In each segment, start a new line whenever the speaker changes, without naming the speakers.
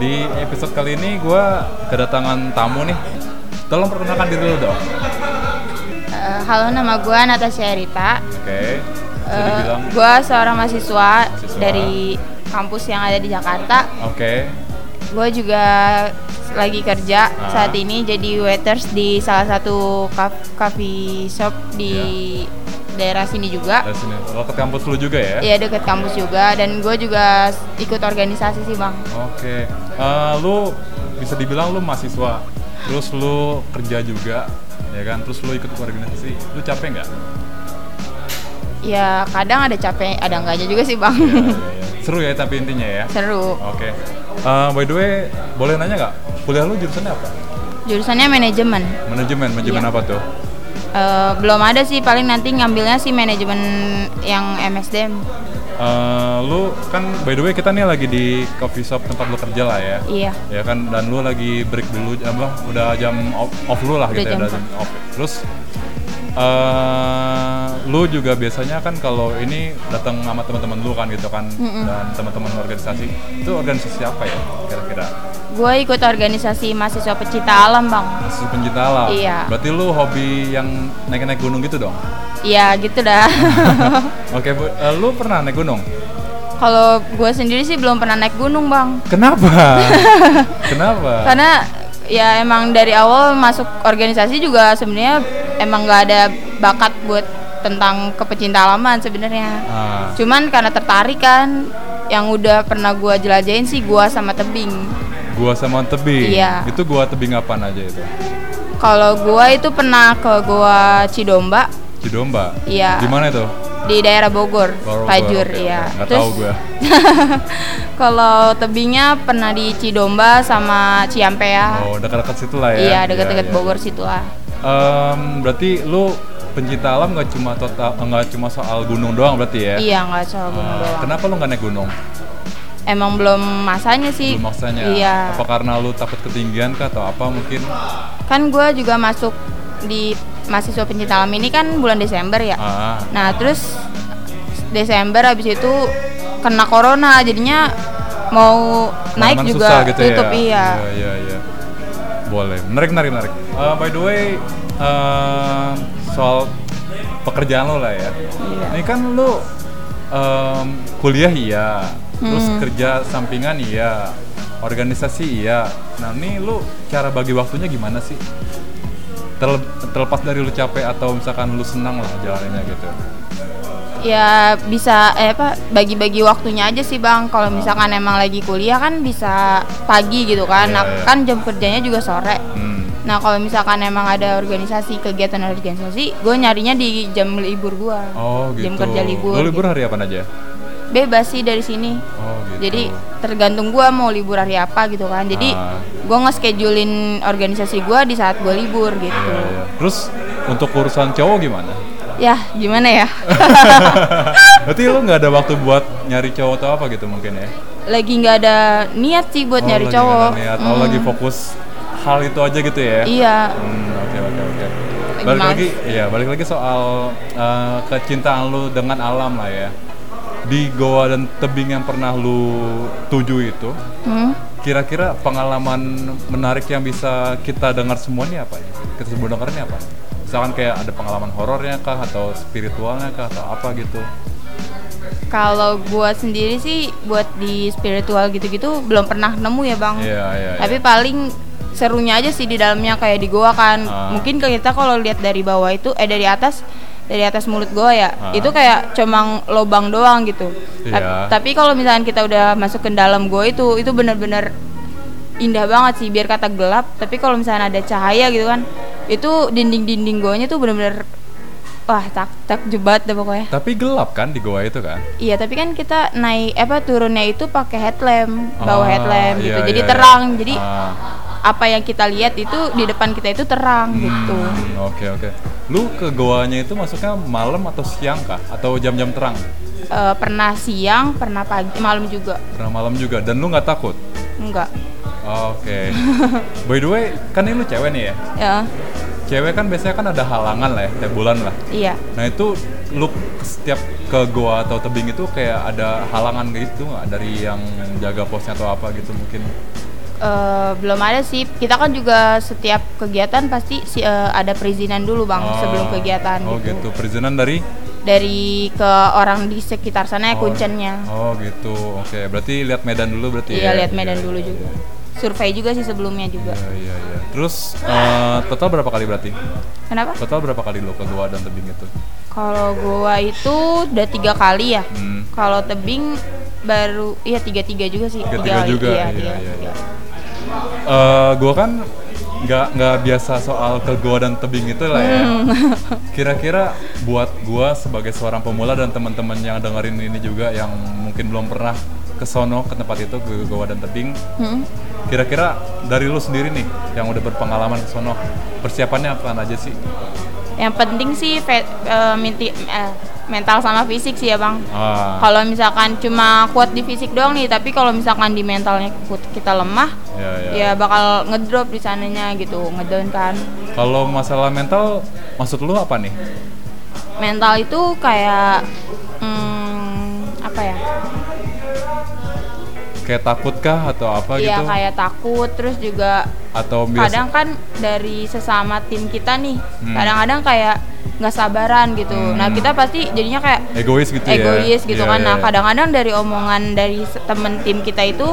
Di episode kali ini gue kedatangan tamu nih. Tolong perkenalkan diri lu dong.
Eh, halo, nama gue Natasha Erita.
Oke. Bisa
Eh,
dibilang.
gue seorang mahasiswa,
Mahasiswa.
dari kampus yang ada di Jakarta.
Oke.
Gue juga lagi kerja
Ah.
saat ini jadi waiters di salah satu kaf- coffee shop di
Iya.
daerah sini juga.
Dari sini. Lo ke kampus lu juga ya?
Ya deket kampus juga dan gue juga s- ikut organisasi sih bang.
Oke. Eh, lu bisa dibilang lu mahasiswa. Terus lu kerja juga, ya kan? Terus lu ikut organisasi. Lu capek nggak?
Ya kadang ada capek, ada enggaknya juga sih bang.
Ya, ya, ya. Seru ya tapi intinya ya.
Seru.
Oke. Eh, by the way, boleh nanya nggak? Kuliah lu jurusannya apa?
Jurusannya manajemen.
Manajemen. Manajemen
Iya.
apa tuh?
Eh, belum ada sih paling nanti ngambilnya sih manajemen yang MSDM.
Eh, lu kan by the way kita nih lagi di coffee shop tempat lu kerja lah ya.
Iya.
Ya kan dan lu lagi break dulu apa udah jam off, off lu lah
Udah
gitu ya
jam
udah jam off. Terus eh lu juga biasanya kan kalau ini datang sama teman-teman lu kan gitu kan
Mm-mm.
dan teman-teman organisasi itu organisasi apa ya kira-kira?
Gue ikut organisasi mahasiswa pecinta alam bang.
Masih pencinta alam.
Iya.
Berarti lu hobi yang naik-naik gunung gitu dong?
Iya gitu dah.
Oke, Bu. Eh, lu pernah naik gunung?
Kalau gue sendiri sih belum pernah naik gunung bang.
Kenapa? Kenapa?
Karena ya emang dari awal masuk organisasi juga sebenarnya emang nggak ada bakat buat tentang kepecinta alaman sebenarnya.
Ah.
Cuman karena tertarik kan, yang udah pernah gue jelajahin sih gua sama tebing.
Gua sama tebing.
Iya.
Itu gua tebing apaan aja itu?
Kalau gua itu pernah ke gua Cidomba
Cidomba.
Iya.
Di mana itu?
di daerah Bogor,
Bogor,
Tajur
oke,
ya.
oke. Nggak tahu gua.
kalau tebingnya pernah di Cidomba sama Ciampea.
Oh, dekat-dekat situ lah ya.
Ah. iya, dekat-dekat
iya.
Bogor situ lah.
Em, berarti lu pencinta alam nggak cuma total nggak cuma soal gunung doang berarti ya?
Iya, nggak soal gunung
Ah,
doang.
kenapa lu nggak naik gunung?
Emang belum masanya sih.
Belum maksanya.
Iya.
Apa karena lu takut ketinggian kah atau apa mungkin?
Kan gua juga masuk di mahasiswa pencinta alam ini kan bulan Desember ya.
Ah,
Nah, terus Desember habis itu kena corona jadinya mau
pengalaman
naik juga
susah gitu
tutup
ya. Iya,
iya.
iya, iya. Boleh. Menarik, menarik, menarik. Eh, by the way, eh, soal pekerjaan lo lah ya.
Iya.
Ini kan lo em, kuliah iya, terus
Hmm.
kerja sampingan iya, organisasi iya. Nah, ini lo cara bagi waktunya gimana sih? Terle- terlepas dari lu capek atau misalkan lu senang lah jalaninnya gitu.
Ya bisa eh apa bagi-bagi waktunya aja sih
Ah.
Bang. Kalau misalkan emang lagi kuliah kan bisa pagi gitu kan.
Iya,
Nah,
iya.
kan jam kerjanya juga sore.
Hmm.
Nah, kalau misalkan emang ada organisasi, kegiatan organisasi, gue nyarinya di jam libur gua.
Oh gitu.
Jam kerja libur.
Lu libur
gitu.
hari apa aja?
Bebas sih dari sini.
Oh gitu.
Jadi tergantung gua mau libur hari apa gitu kan. Jadi
Ah.
gua nge-schedulein organisasi gua di saat gua libur gitu.
Iya, iya. Terus untuk urusan cowok gimana? Iya.
Yah, gimana ya?
Berarti lu nggak ada waktu buat nyari cowok atau apa gitu mungkin ya?
lagi nggak ada niat sih buat
Oh,
nyari
lagi
cowok.
nggak ada niat. Oh,
Mm.
lagi fokus hal itu aja gitu ya?
Iya.
Hmm, Oke oke oke.
Lagi
Balik
males.
lagi, iya balik lagi soal eh, kecintaan lu dengan alam lah ya. Di goa dan tebing yang pernah lu tuju itu,
Hmm.
kira-kira pengalaman menarik yang bisa kita dengar semuanya apa ya? Kita semua dengarnya apa? Misalkan kayak ada pengalaman horornya kah atau spiritualnya kah atau apa gitu?
Kalau gua sendiri sih buat di spiritual gitu-gitu belum pernah nemu ya bang.
Iya iya. iya.
Tapi paling serunya aja sih di dalamnya kayak di goa kan.
Ah.
Mungkin kalau kita kalau lihat dari bawah itu eh dari atas dari atas mulut goa ya,
Ah.
itu kayak cuma lobang doang gitu. Ta-
Iya.
Tapi kalau misalnya kita udah masuk ke dalam goa itu itu benar-benar indah banget sih biar kata gelap, tapi kalau misalnya ada cahaya gitu kan, itu dinding-dinding goanya tuh benar-benar wah tak takjub banget deh pokoknya.
Tapi gelap kan di goa itu kan?
Iya, tapi kan kita naik apa turunnya itu pakai headlamp, bawa
Ah,
headlamp gitu.
iya,
jadi
iya, iya.
terang. Jadi
Ah,
apa yang kita lihat itu di depan kita itu terang gitu.
hmm, Oke oke. Lu ke goanya itu masuknya malam atau siang kah? Atau jam-jam terang?
Eh, pernah siang, pernah pagi, malam juga.
Pernah malam juga. Dan lu nggak takut?
Enggak.
Oke. By the way, kan ini lu cewek nih ya.
Ya,
Cewek kan biasanya kan ada halangan lah ya, tiap bulan lah.
iya.
Nah itu lu setiap ke goa atau tebing itu kayak ada halangan gitu nggak dari yang jaga posnya atau apa gitu mungkin?
Eh, belum ada sih. Kita kan juga setiap kegiatan pasti si- eh, ada perizinan dulu bang
Oh.
sebelum kegiatan
oh gitu, perizinan dari
Dari ke orang di sekitar sana ya
Oh,
kuncennya.
Oh gitu, oke. Berarti lihat Medan dulu berarti.
Iya
ya?
lihat Medan
Iya,
dulu
iya,
juga.
iya.
Survei juga sih sebelumnya juga.
Iya iya iya. Terus eh, total berapa kali berarti?
Kenapa?
Total berapa kali lo ke Goa dan tebing itu?
Kalau gua itu udah tiga kali ya.
Hmm.
Kalau tebing baru iya tiga tiga juga sih.
Tiga-tiga juga,
Iya,
iya,
tiga,
iya,
tiga.
iya. Eh gua kan nggak nggak biasa soal ke Goa dan tebing itu lah ya.
Hmm.
Kira-kira buat gua sebagai seorang pemula dan teman-teman yang dengerin ini juga yang mungkin belum pernah ke sono ke tempat itu ke Goa dan tebing,
Hmm.
kira-kira dari lu sendiri nih yang udah berpengalaman ke sono persiapannya apa aja sih?
Yang penting sih fe- eh, minti- eh, mental sama fisik sih ya bang.
Ah,
Kalau misalkan cuma kuat di fisik doang nih, tapi kalau misalkan di mentalnya ku- kita lemah,
ya, ya.
ya bakal ngedrop di sananya gitu, ngedown kan.
Kalau masalah mental, maksud lu apa nih?
Mental itu kayak hmm, apa ya?
Kayak takut kah atau apa
Iya
gitu?
kayak takut, terus juga
Atau
kadang
biasa?
kan dari sesama tim kita nih,
Hmm.
kadang-kadang kayak nggak sabaran gitu. Nah
Hmm.
kita pasti jadinya kayak
egois gitu ya?
egois gitu
Iya,
kan.
iya.
Nah kadang-kadang dari omongan dari se- temen tim kita itu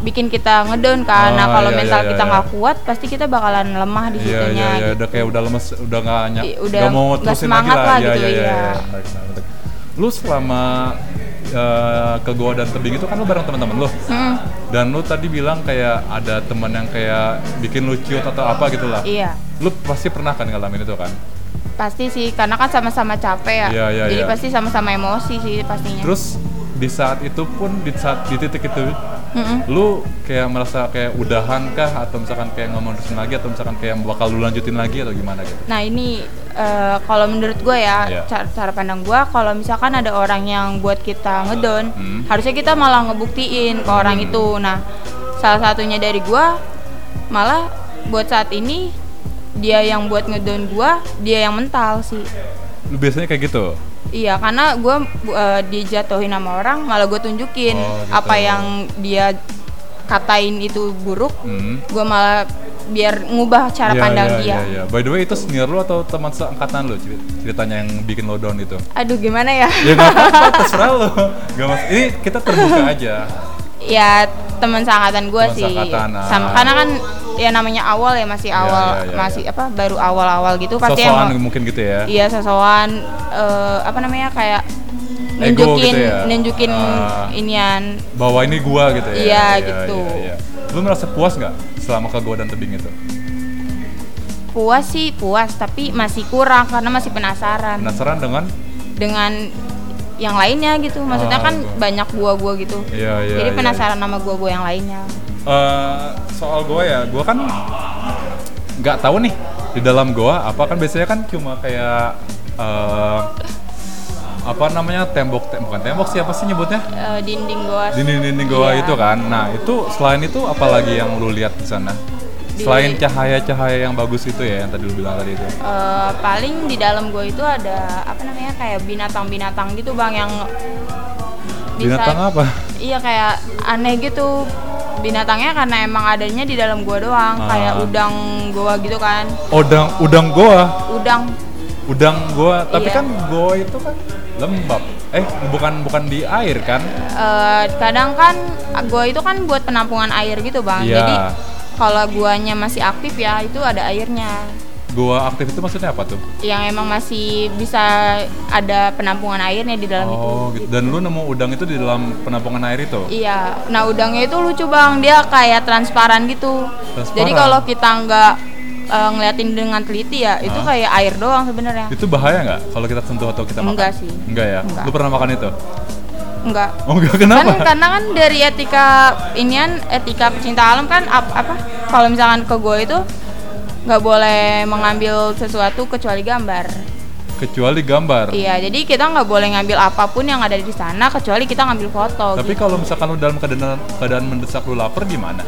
bikin kita ngedown kan. nah
Ah,
kalau
iya,
mental
iya,
kita
iya.
nggak kuat, pasti kita bakalan lemah di
Iya,
situnya.
iya, iya.
gitu.
Udah kayak udah lemes, udah nggak nyak,
I- Iya, udah
nggak mau
nggak
terusin
semangat
lagi lah.
lah
Iya,
gitu,
iya, iya,
iya.
iya. Menarik, menarik, menarik. Lu selama eh, ke Goa dan tebing itu kan lu bareng teman-teman lu.
Hmm,
Dan lu tadi bilang kayak ada teman yang kayak bikin lu ciut atau apa gitu lah.
iya.
Lu pasti pernah kan ngalamin itu kan?
Pasti sih, karena kan sama-sama capek ya.
Iya, iya,
Jadi
iya.
pasti sama-sama emosi sih pastinya.
Terus di saat itu pun di saat di titik itu
Mm-mm.
lu kayak merasa kayak udahan kah atau misalkan kayak nggak mau terusin lagi atau misalkan kayak bakal lu lanjutin lagi atau gimana gitu?
Nah ini eh, kalau menurut gue ya
Iya.
cara, cara pandang gue kalau misalkan ada orang yang buat kita ngedown
Hmm.
harusnya kita malah ngebuktiin ke orang itu. Nah salah satunya dari gue malah buat saat ini dia yang buat ngedown gue dia yang mental sih.
Lu biasanya kayak gitu?
Iya karena gue dijatuhin sama orang malah gue tunjukin
Oh, gitu.
apa yang dia katain itu buruk
Hmm.
gue malah biar ngubah cara
Iya,
pandang
iya,
dia.
iya, iya. By the way itu senior lu atau teman seangkatan lu cerit- ceritanya yang bikin lo down itu?
Aduh gimana ya?
Ya nggak apa-apa, terserah lu. Nggak mas- Ini kita terbuka aja.
ya teman seangkatan gue
Teman
sih
seangkatan, ah.
sama karena kan ya namanya awal ya masih
Iya,
awal
iya, iya,
masih apa baru awal-awal gitu pasti
Sosokan
emang-
mungkin gitu ya.
iya sosokan eh, apa namanya kayak
Ego
nunjukin
gitu ya?
nunjukin
Ah.
inian
Bahwa ini gua gitu ya.
Iya, gitu.
iya, iya. Lu merasa puas nggak selama ke gua dan tebing itu?
puas sih puas tapi masih kurang karena masih penasaran
Penasaran dengan
dengan yang lainnya gitu maksudnya
Ah,
kan
gua.
banyak gua-gua gitu
Iya, iya,
jadi
iya,
penasaran sama gua-gua yang lainnya
Eh, soal goa ya, gua kan nggak tahu nih di dalam goa apa kan biasanya kan cuma kayak eh, apa namanya tembok tem- bukan tembok sih apa sih nyebutnya
Eh, dinding gua
dinding-dinding goa
Iya.
itu kan. Nah itu selain itu apalagi yang lu lihat di sana?
Di-
Selain cahaya-cahaya yang bagus itu ya yang tadi lu bilang tadi itu.
Eh, paling di dalam gua itu ada apa namanya kayak binatang-binatang gitu bang yang bisa-
Binatang apa?
iya kayak aneh gitu binatangnya karena emang adanya di dalam gua doang
Ah.
kayak udang goa gitu kan
Udang udang goa,
udang
udang goa. Tapi
Iya.
kan goa itu kan lembab. Eh bukan bukan di air kan?
eh, kadang kan gua itu kan buat penampungan air gitu bang
Iya.
jadi kalau guanya masih aktif ya itu ada airnya
Goa aktif itu maksudnya apa tuh?
yang emang masih bisa ada penampungan airnya di dalam itu
Oh, gitu. Dan lu nemu udang itu di dalam penampungan air itu?
Iya, nah udangnya itu lucu bang, dia kayak transparan gitu.
Transparan?
Jadi kalau kita nggak eh, ngeliatin dengan teliti ya, itu
Hah?
kayak air doang sebenarnya.
Itu bahaya nggak kalau kita sentuh atau kita makan?
Enggak sih.
Enggak ya?
Enggak.
Lu pernah makan itu?
Enggak.
Oh, enggak
Kan
kenapa?
karena kan dari etika inian, etika pecinta alam kan ap- apa? Kalau misalkan ke gue itu nggak boleh mengambil sesuatu kecuali gambar.
Kecuali gambar.
Iya, jadi kita nggak boleh ngambil apapun yang ada di sana kecuali kita ngambil foto.
Tapi
gitu.
kalau misalkan lu dalam keadaan, keadaan mendesak lu lapar gimana?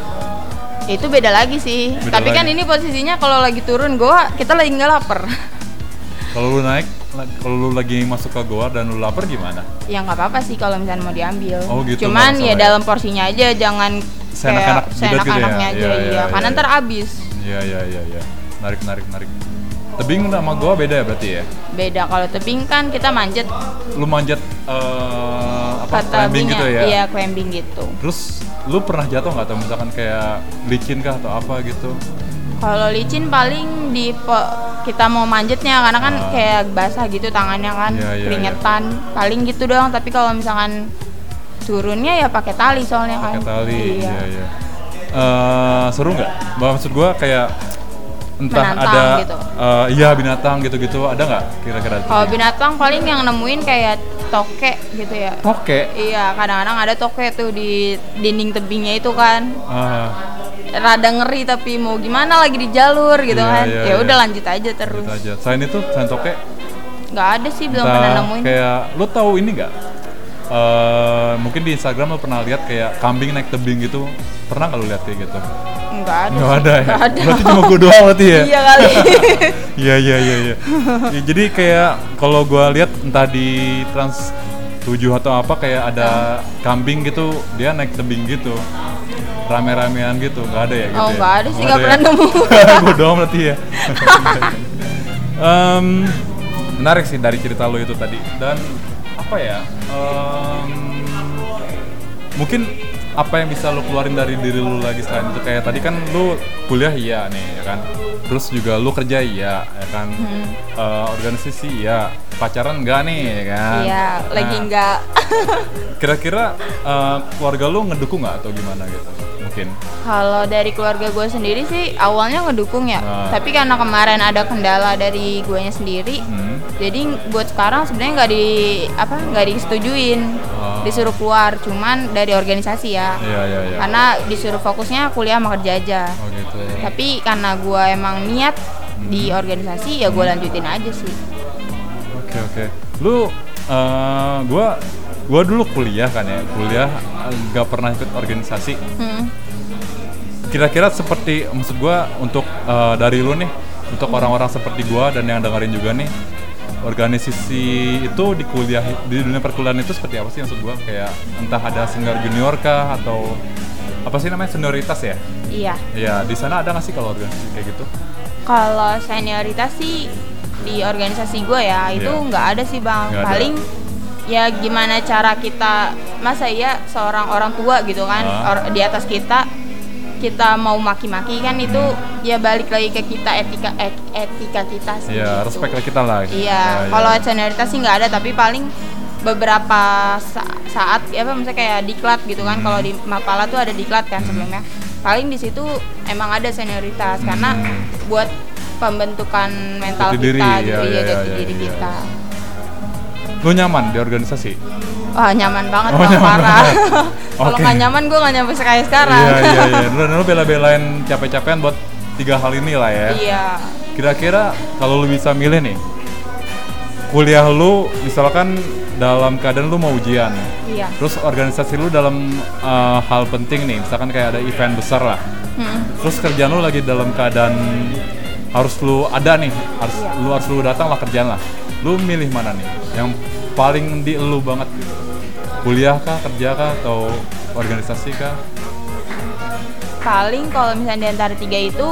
Itu beda lagi sih.
Beda
Tapi kan
lagi.
ini posisinya kalau lagi turun gua kita lagi nggak lapar.
Kalau lu naik, la- kalau lu lagi masuk ke goa dan lu lapar gimana?
ya nggak apa-apa sih kalau misalnya mau diambil.
Oh, gitu, nggak
Cuman ya
masalah ya?
dalam porsinya aja, jangan
seenak-enak
kayak
jidat gitu ya?
seenak-enaknya aja
Iya,
iya,
iya,
karena
iya.
ntar abis
Iya iya iya iya. Narik narik narik. Tebing sama goa beda ya berarti ya.
beda kalau tebing kan kita manjat
Lu manjat eh, apa
kata
Oh, climbing gitu ya.
iya climbing gitu
Terus lu pernah jatuh nggak atau misalkan kayak licin kah atau apa gitu?
kalau licin paling di pe- kita mau manjatnya karena kan
Ah.
kayak basah gitu tangannya kan
Iya, iya, iya.
keringetan paling gitu doang tapi kalau misalkan turunnya ya pakai tali soalnya
Pakai
kan
tali.
Iya.
Iya iya. Eh, seru nggak? Maksud gua kayak entah
Menantang
ada
gitu.
eh, iya binatang gitu-gitu ada nggak kira-kira? di
kalau
sini?
binatang paling yang nemuin kayak tokek gitu ya
Toke.
Iya, kadang-kadang ada tokek tuh di dinding tebingnya itu kan.
Ah,
Rada ngeri tapi mau gimana lagi di jalur gitu
Iya,
kan.
iya,
ya udah
iya.
lanjut aja terus.
gitu aja. Selain itu, selain toke,
Nggak ada sih belum
Entah,
pernah nemuin.
Kayak lu tahu ini nggak? Eh, mungkin di Instagram lu pernah lihat kayak kambing naik tebing gitu. Pernah nggak lu lihat kayak gitu?
Nggak ada.
Nggak
sih,
ada ya.
nggak ada.
Berarti cuma gua doang berarti ya.
Iya kali.
Iya iya iya iya. Ya, Jadi kayak kalau gua lihat entah di Trans 7 atau apa kayak ada
Iya.
kambing gitu, dia naik tebing gitu. Rame-ramean gitu, nggak ada ya gitu.
Oh,
ya?
nggak ada sih, nggak
ya?
pernah nemu.
Gua doang berarti ya. Em, menarik sih dari cerita lo itu tadi dan apa ya? em, mungkin apa yang bisa lo keluarin dari diri lo lagi selain itu kayak tadi kan lo kuliah iya nih ya kan terus juga lo kerja iya ya kan
Hmm.
Eh, organisasi iya pacaran enggak nih ya kan
Iya, lagi
Nah,
nggak.
kira-kira eh, keluarga lo ngedukung nggak atau gimana gitu mungkin
Kalau dari keluarga gue sendiri sih awalnya ngedukung ya.
Nah.
Tapi karena kemarin ada kendala dari guanya sendiri,
Hmm.
jadi buat sekarang sebenarnya nggak di apa nggak disetujuin
Oh.
disuruh keluar cuman dari organisasi ya
iya iya iya
karena disuruh fokusnya kuliah sama kerja aja
oh gitu
tapi karena gua emang niat di organisasi ya gua lanjutin aja sih
Oke oke. Lu eh gua gua dulu kuliah kan ya. Kuliah eh, nggak pernah ikut organisasi.
Hmm.
Kira-kira seperti maksud gua untuk eh, dari lu nih untuk orang-orang seperti gua dan yang dengerin juga nih organisasi itu di kuliah di dunia perkuliahan itu seperti apa sih maksud gua kayak entah ada senior junior kah atau apa sih namanya senioritas ya?
iya
Ya di sana ada nggak sih kalau organisasi kayak gitu?
kalau senioritas sih di organisasi gua ya itu
Iya.
nggak ada sih bang
Nggak ada.
paling ya gimana cara kita masa ya seorang orang tua gitu kan
Ah.
or- di atas kita kita mau maki-maki kan itu ya balik lagi ke kita etika et- etika kita sih
Ya
gitu.
respect lah kita lah. Ya,
Iya, kalau
ya.
senioritas sih nggak ada, tapi paling beberapa sa- saat ya apa misalnya kayak diklat gitu kan
Hmm.
kalau di Mapala tuh ada diklat kan sebelumnya paling di situ emang ada senioritas karena
Hmm.
buat pembentukan mental
Jati
kita
diri, iya,
gitu ya,
iya,
jati
iya,
diri
iya.
kita
Lu nyaman di organisasi?
wah nyaman banget
Oh,
Bang,
nyaman
parah
banget.
kalau
Oke.
nggak nyaman gue nggak nyampe kayak sekarang
Iya iya iya. Dan lu bela-belain capek-capean buat tiga hal ini lah ya.
Iya.
Kira-kira kalau lu bisa milih nih, kuliah lu misalkan dalam keadaan lu mau ujian,
iya
terus organisasi lu dalam eh, hal penting nih, misalkan kayak ada event besar lah,
Hmm.
terus kerjaan lu lagi dalam keadaan harus lu ada nih, harus
Iya.
lu harus lu datang lah kerjaan lah. Lu milih mana nih? Yang paling di lu banget gitu. Kuliah kah, kerja kah, atau organisasi kah?
paling kalau misalnya di antara tiga itu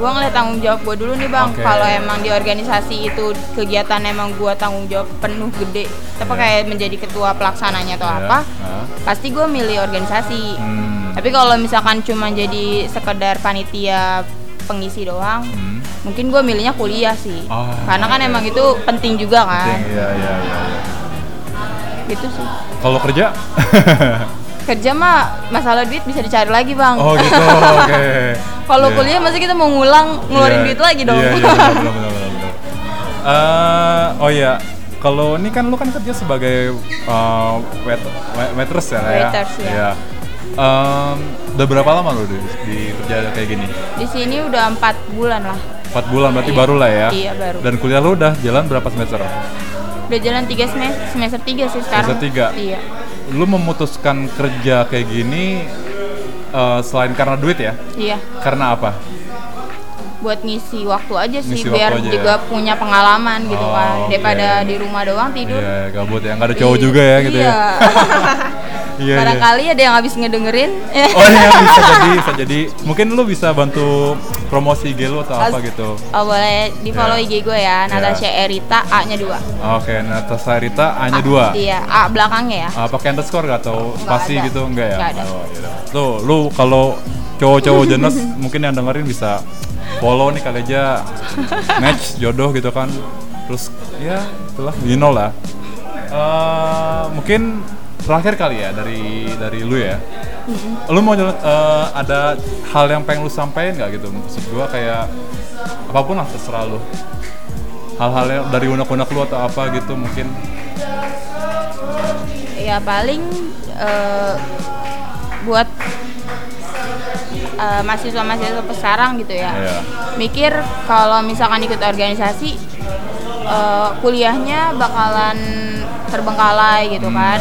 gua ngeliat tanggung jawab gue dulu nih bang
Oke.
kalau emang di organisasi itu kegiatan emang gua tanggung jawab penuh gede apa
Iya.
kayak menjadi ketua pelaksananya atau
Ya,
apa
nah.
pasti gua milih organisasi
Hmm.
tapi kalau misalkan cuma jadi sekedar panitia pengisi doang
Hmm.
mungkin gua milihnya kuliah sih
Ah,
karena kan
iya.
emang itu penting juga kan
Penting, iya, iya, iya, iya.
gitu sih
Kalau kerja?
kerja mah masalah duit bisa dicari lagi bang
oh gitu, oke.
kalau
Iya.
kuliah masih kita mau ngulang ngeluarin
Iya,
duit lagi dong
Iya, iya, benar, benar, benar, benar, benar. Eh, oh iya, kalau ini kan lu kan kerja sebagai eh, wait, wait- waitress ya, lah ya?
Waiters, ya.
Iya. Em, udah berapa lama lu di, di kerja kayak gini?
Di sini udah empat bulan lah.
4 bulan berarti
Iya.
baru lah ya?
Iya, baru.
Dan kuliah lu udah jalan berapa semester?
Udah jalan tiga semester, semester tiga sih sekarang.
Semester tiga?
Iya.
Lu memutuskan kerja kayak gini eh, selain karena duit ya?
Iya,
Karena apa?
buat ngisi waktu aja sih
Ngisi
biar
waktu aja ya?
juga punya pengalaman gitu
Oh,
kan. Daripada
oke.
di rumah doang tidur.
ya. Iya, gabut ya, nggak ada cowok juga ya gitu
iya.
ya. gitu Iya, iya.
barangkali ada yang habis ngedengerin
Oh iya bisa jadi, bisa jadi. Mungkin lu bisa bantu promosi IG lu atau apa gitu.
oh boleh di follow
Iya.
IG gue ya Natasha Erita A nya dua
Oke, Natasha Rita hanya
A,
dua.
iya A belakangnya ya
Ah, pakai underscore gak atau
Nggak
pasti
ada.
gitu enggak ya?
Nggak ada.
Oh, iya. Tuh, lu kalau cowok-cowok jenis mungkin yang dengerin bisa follow nih kali aja match jodoh gitu kan. Terus ya itulah you know lah. Eh, mungkin terakhir kali ya dari dari lu ya. Lu mau jalan- eh, ada hal yang pengen lu sampein nggak gitu? Maksud gua kayak apapun lah terserah lu. Hal-hal yang dari unek-unek lu atau apa gitu mungkin.
ya paling eh, buat eh, mahasiswa-mahasiswa sekarang gitu ya
Iya.
mikir kalau misalkan ikut organisasi eh, kuliahnya bakalan terbengkalai gitu kan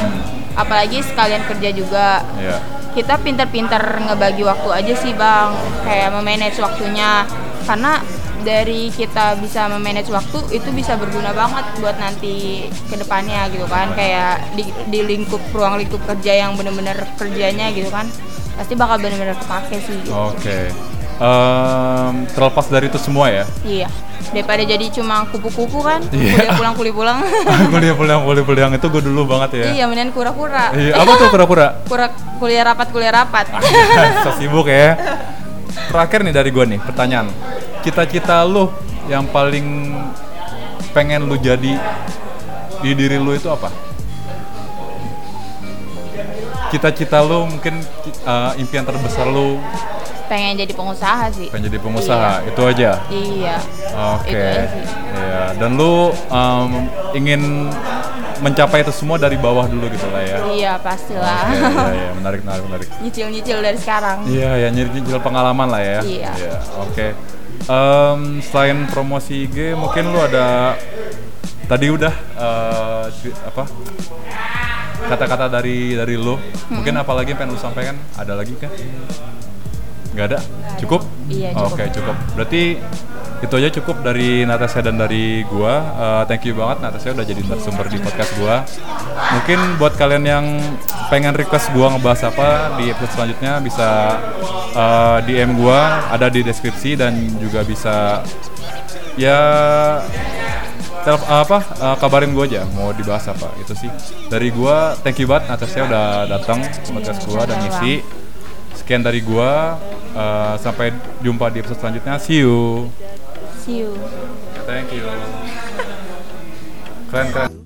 apalagi sekalian kerja juga
Iya.
kita pinter-pinter ngebagi waktu aja sih bang kayak memanage waktunya karena dari kita bisa memanage waktu itu bisa berguna banget buat nanti kedepannya gitu kan kayak di, di lingkup ruang lingkup kerja yang bener-bener kerjanya gitu kan pasti bakal bener-bener kepake sih gitu.
Oke. Em, terlepas dari itu semua ya.
iya daripada jadi cuma kupu-kupu kan
Iya.
kuliah pulang kuliah pulang
kuliah pulang kuliah pulang itu gue dulu banget ya.
iya mendingan kura-kura
Iya, apa tuh kura-kura?
kura kuliah rapat kuliah rapat
so sibuk ya. Terakhir nih dari gue nih pertanyaan. Cita-cita lu yang paling pengen lu jadi di diri lu itu apa? Cita-cita lu mungkin eh, impian terbesar lu
pengen jadi pengusaha sih
pengen jadi pengusaha itu aja.
iya
Oke.
Itu aja sih.
Iya, dan lu um, ingin mencapai itu semua dari bawah dulu gitu lah ya.
iya
Oke,
pastilah
Iya, iya, menarik, menarik, menarik.
nyicil-nyicil dari sekarang.
Iya, ya nyicil pengalaman lah ya.
Iya.
Oke. Em, selain promosi IG, mungkin lu ada tadi udah eh, ceri- apa kata-kata dari dari lu. Mungkin
Hmm.
apalagi yang pengen lu sampaikan? Ada lagi kan? Nggak ada? Cukup?
Iya,
Oke,
cukup.
cukup. Berarti itu aja cukup dari Natasha dan dari gua. Eh, thank you banget Natasha udah jadi narasumber di podcast gua. Mungkin buat kalian yang pengen request gua ngebahas apa di episode selanjutnya bisa eh, DM gua ada di deskripsi dan juga bisa ya tel- apa eh, kabarin gua aja mau dibahas apa itu sih dari gua thank you banget Natasha udah datang ke podcast gua dan ngisi sekian dari gua Eh, sampai jumpa di episode selanjutnya see you
See you.
Thank you. Keren keren.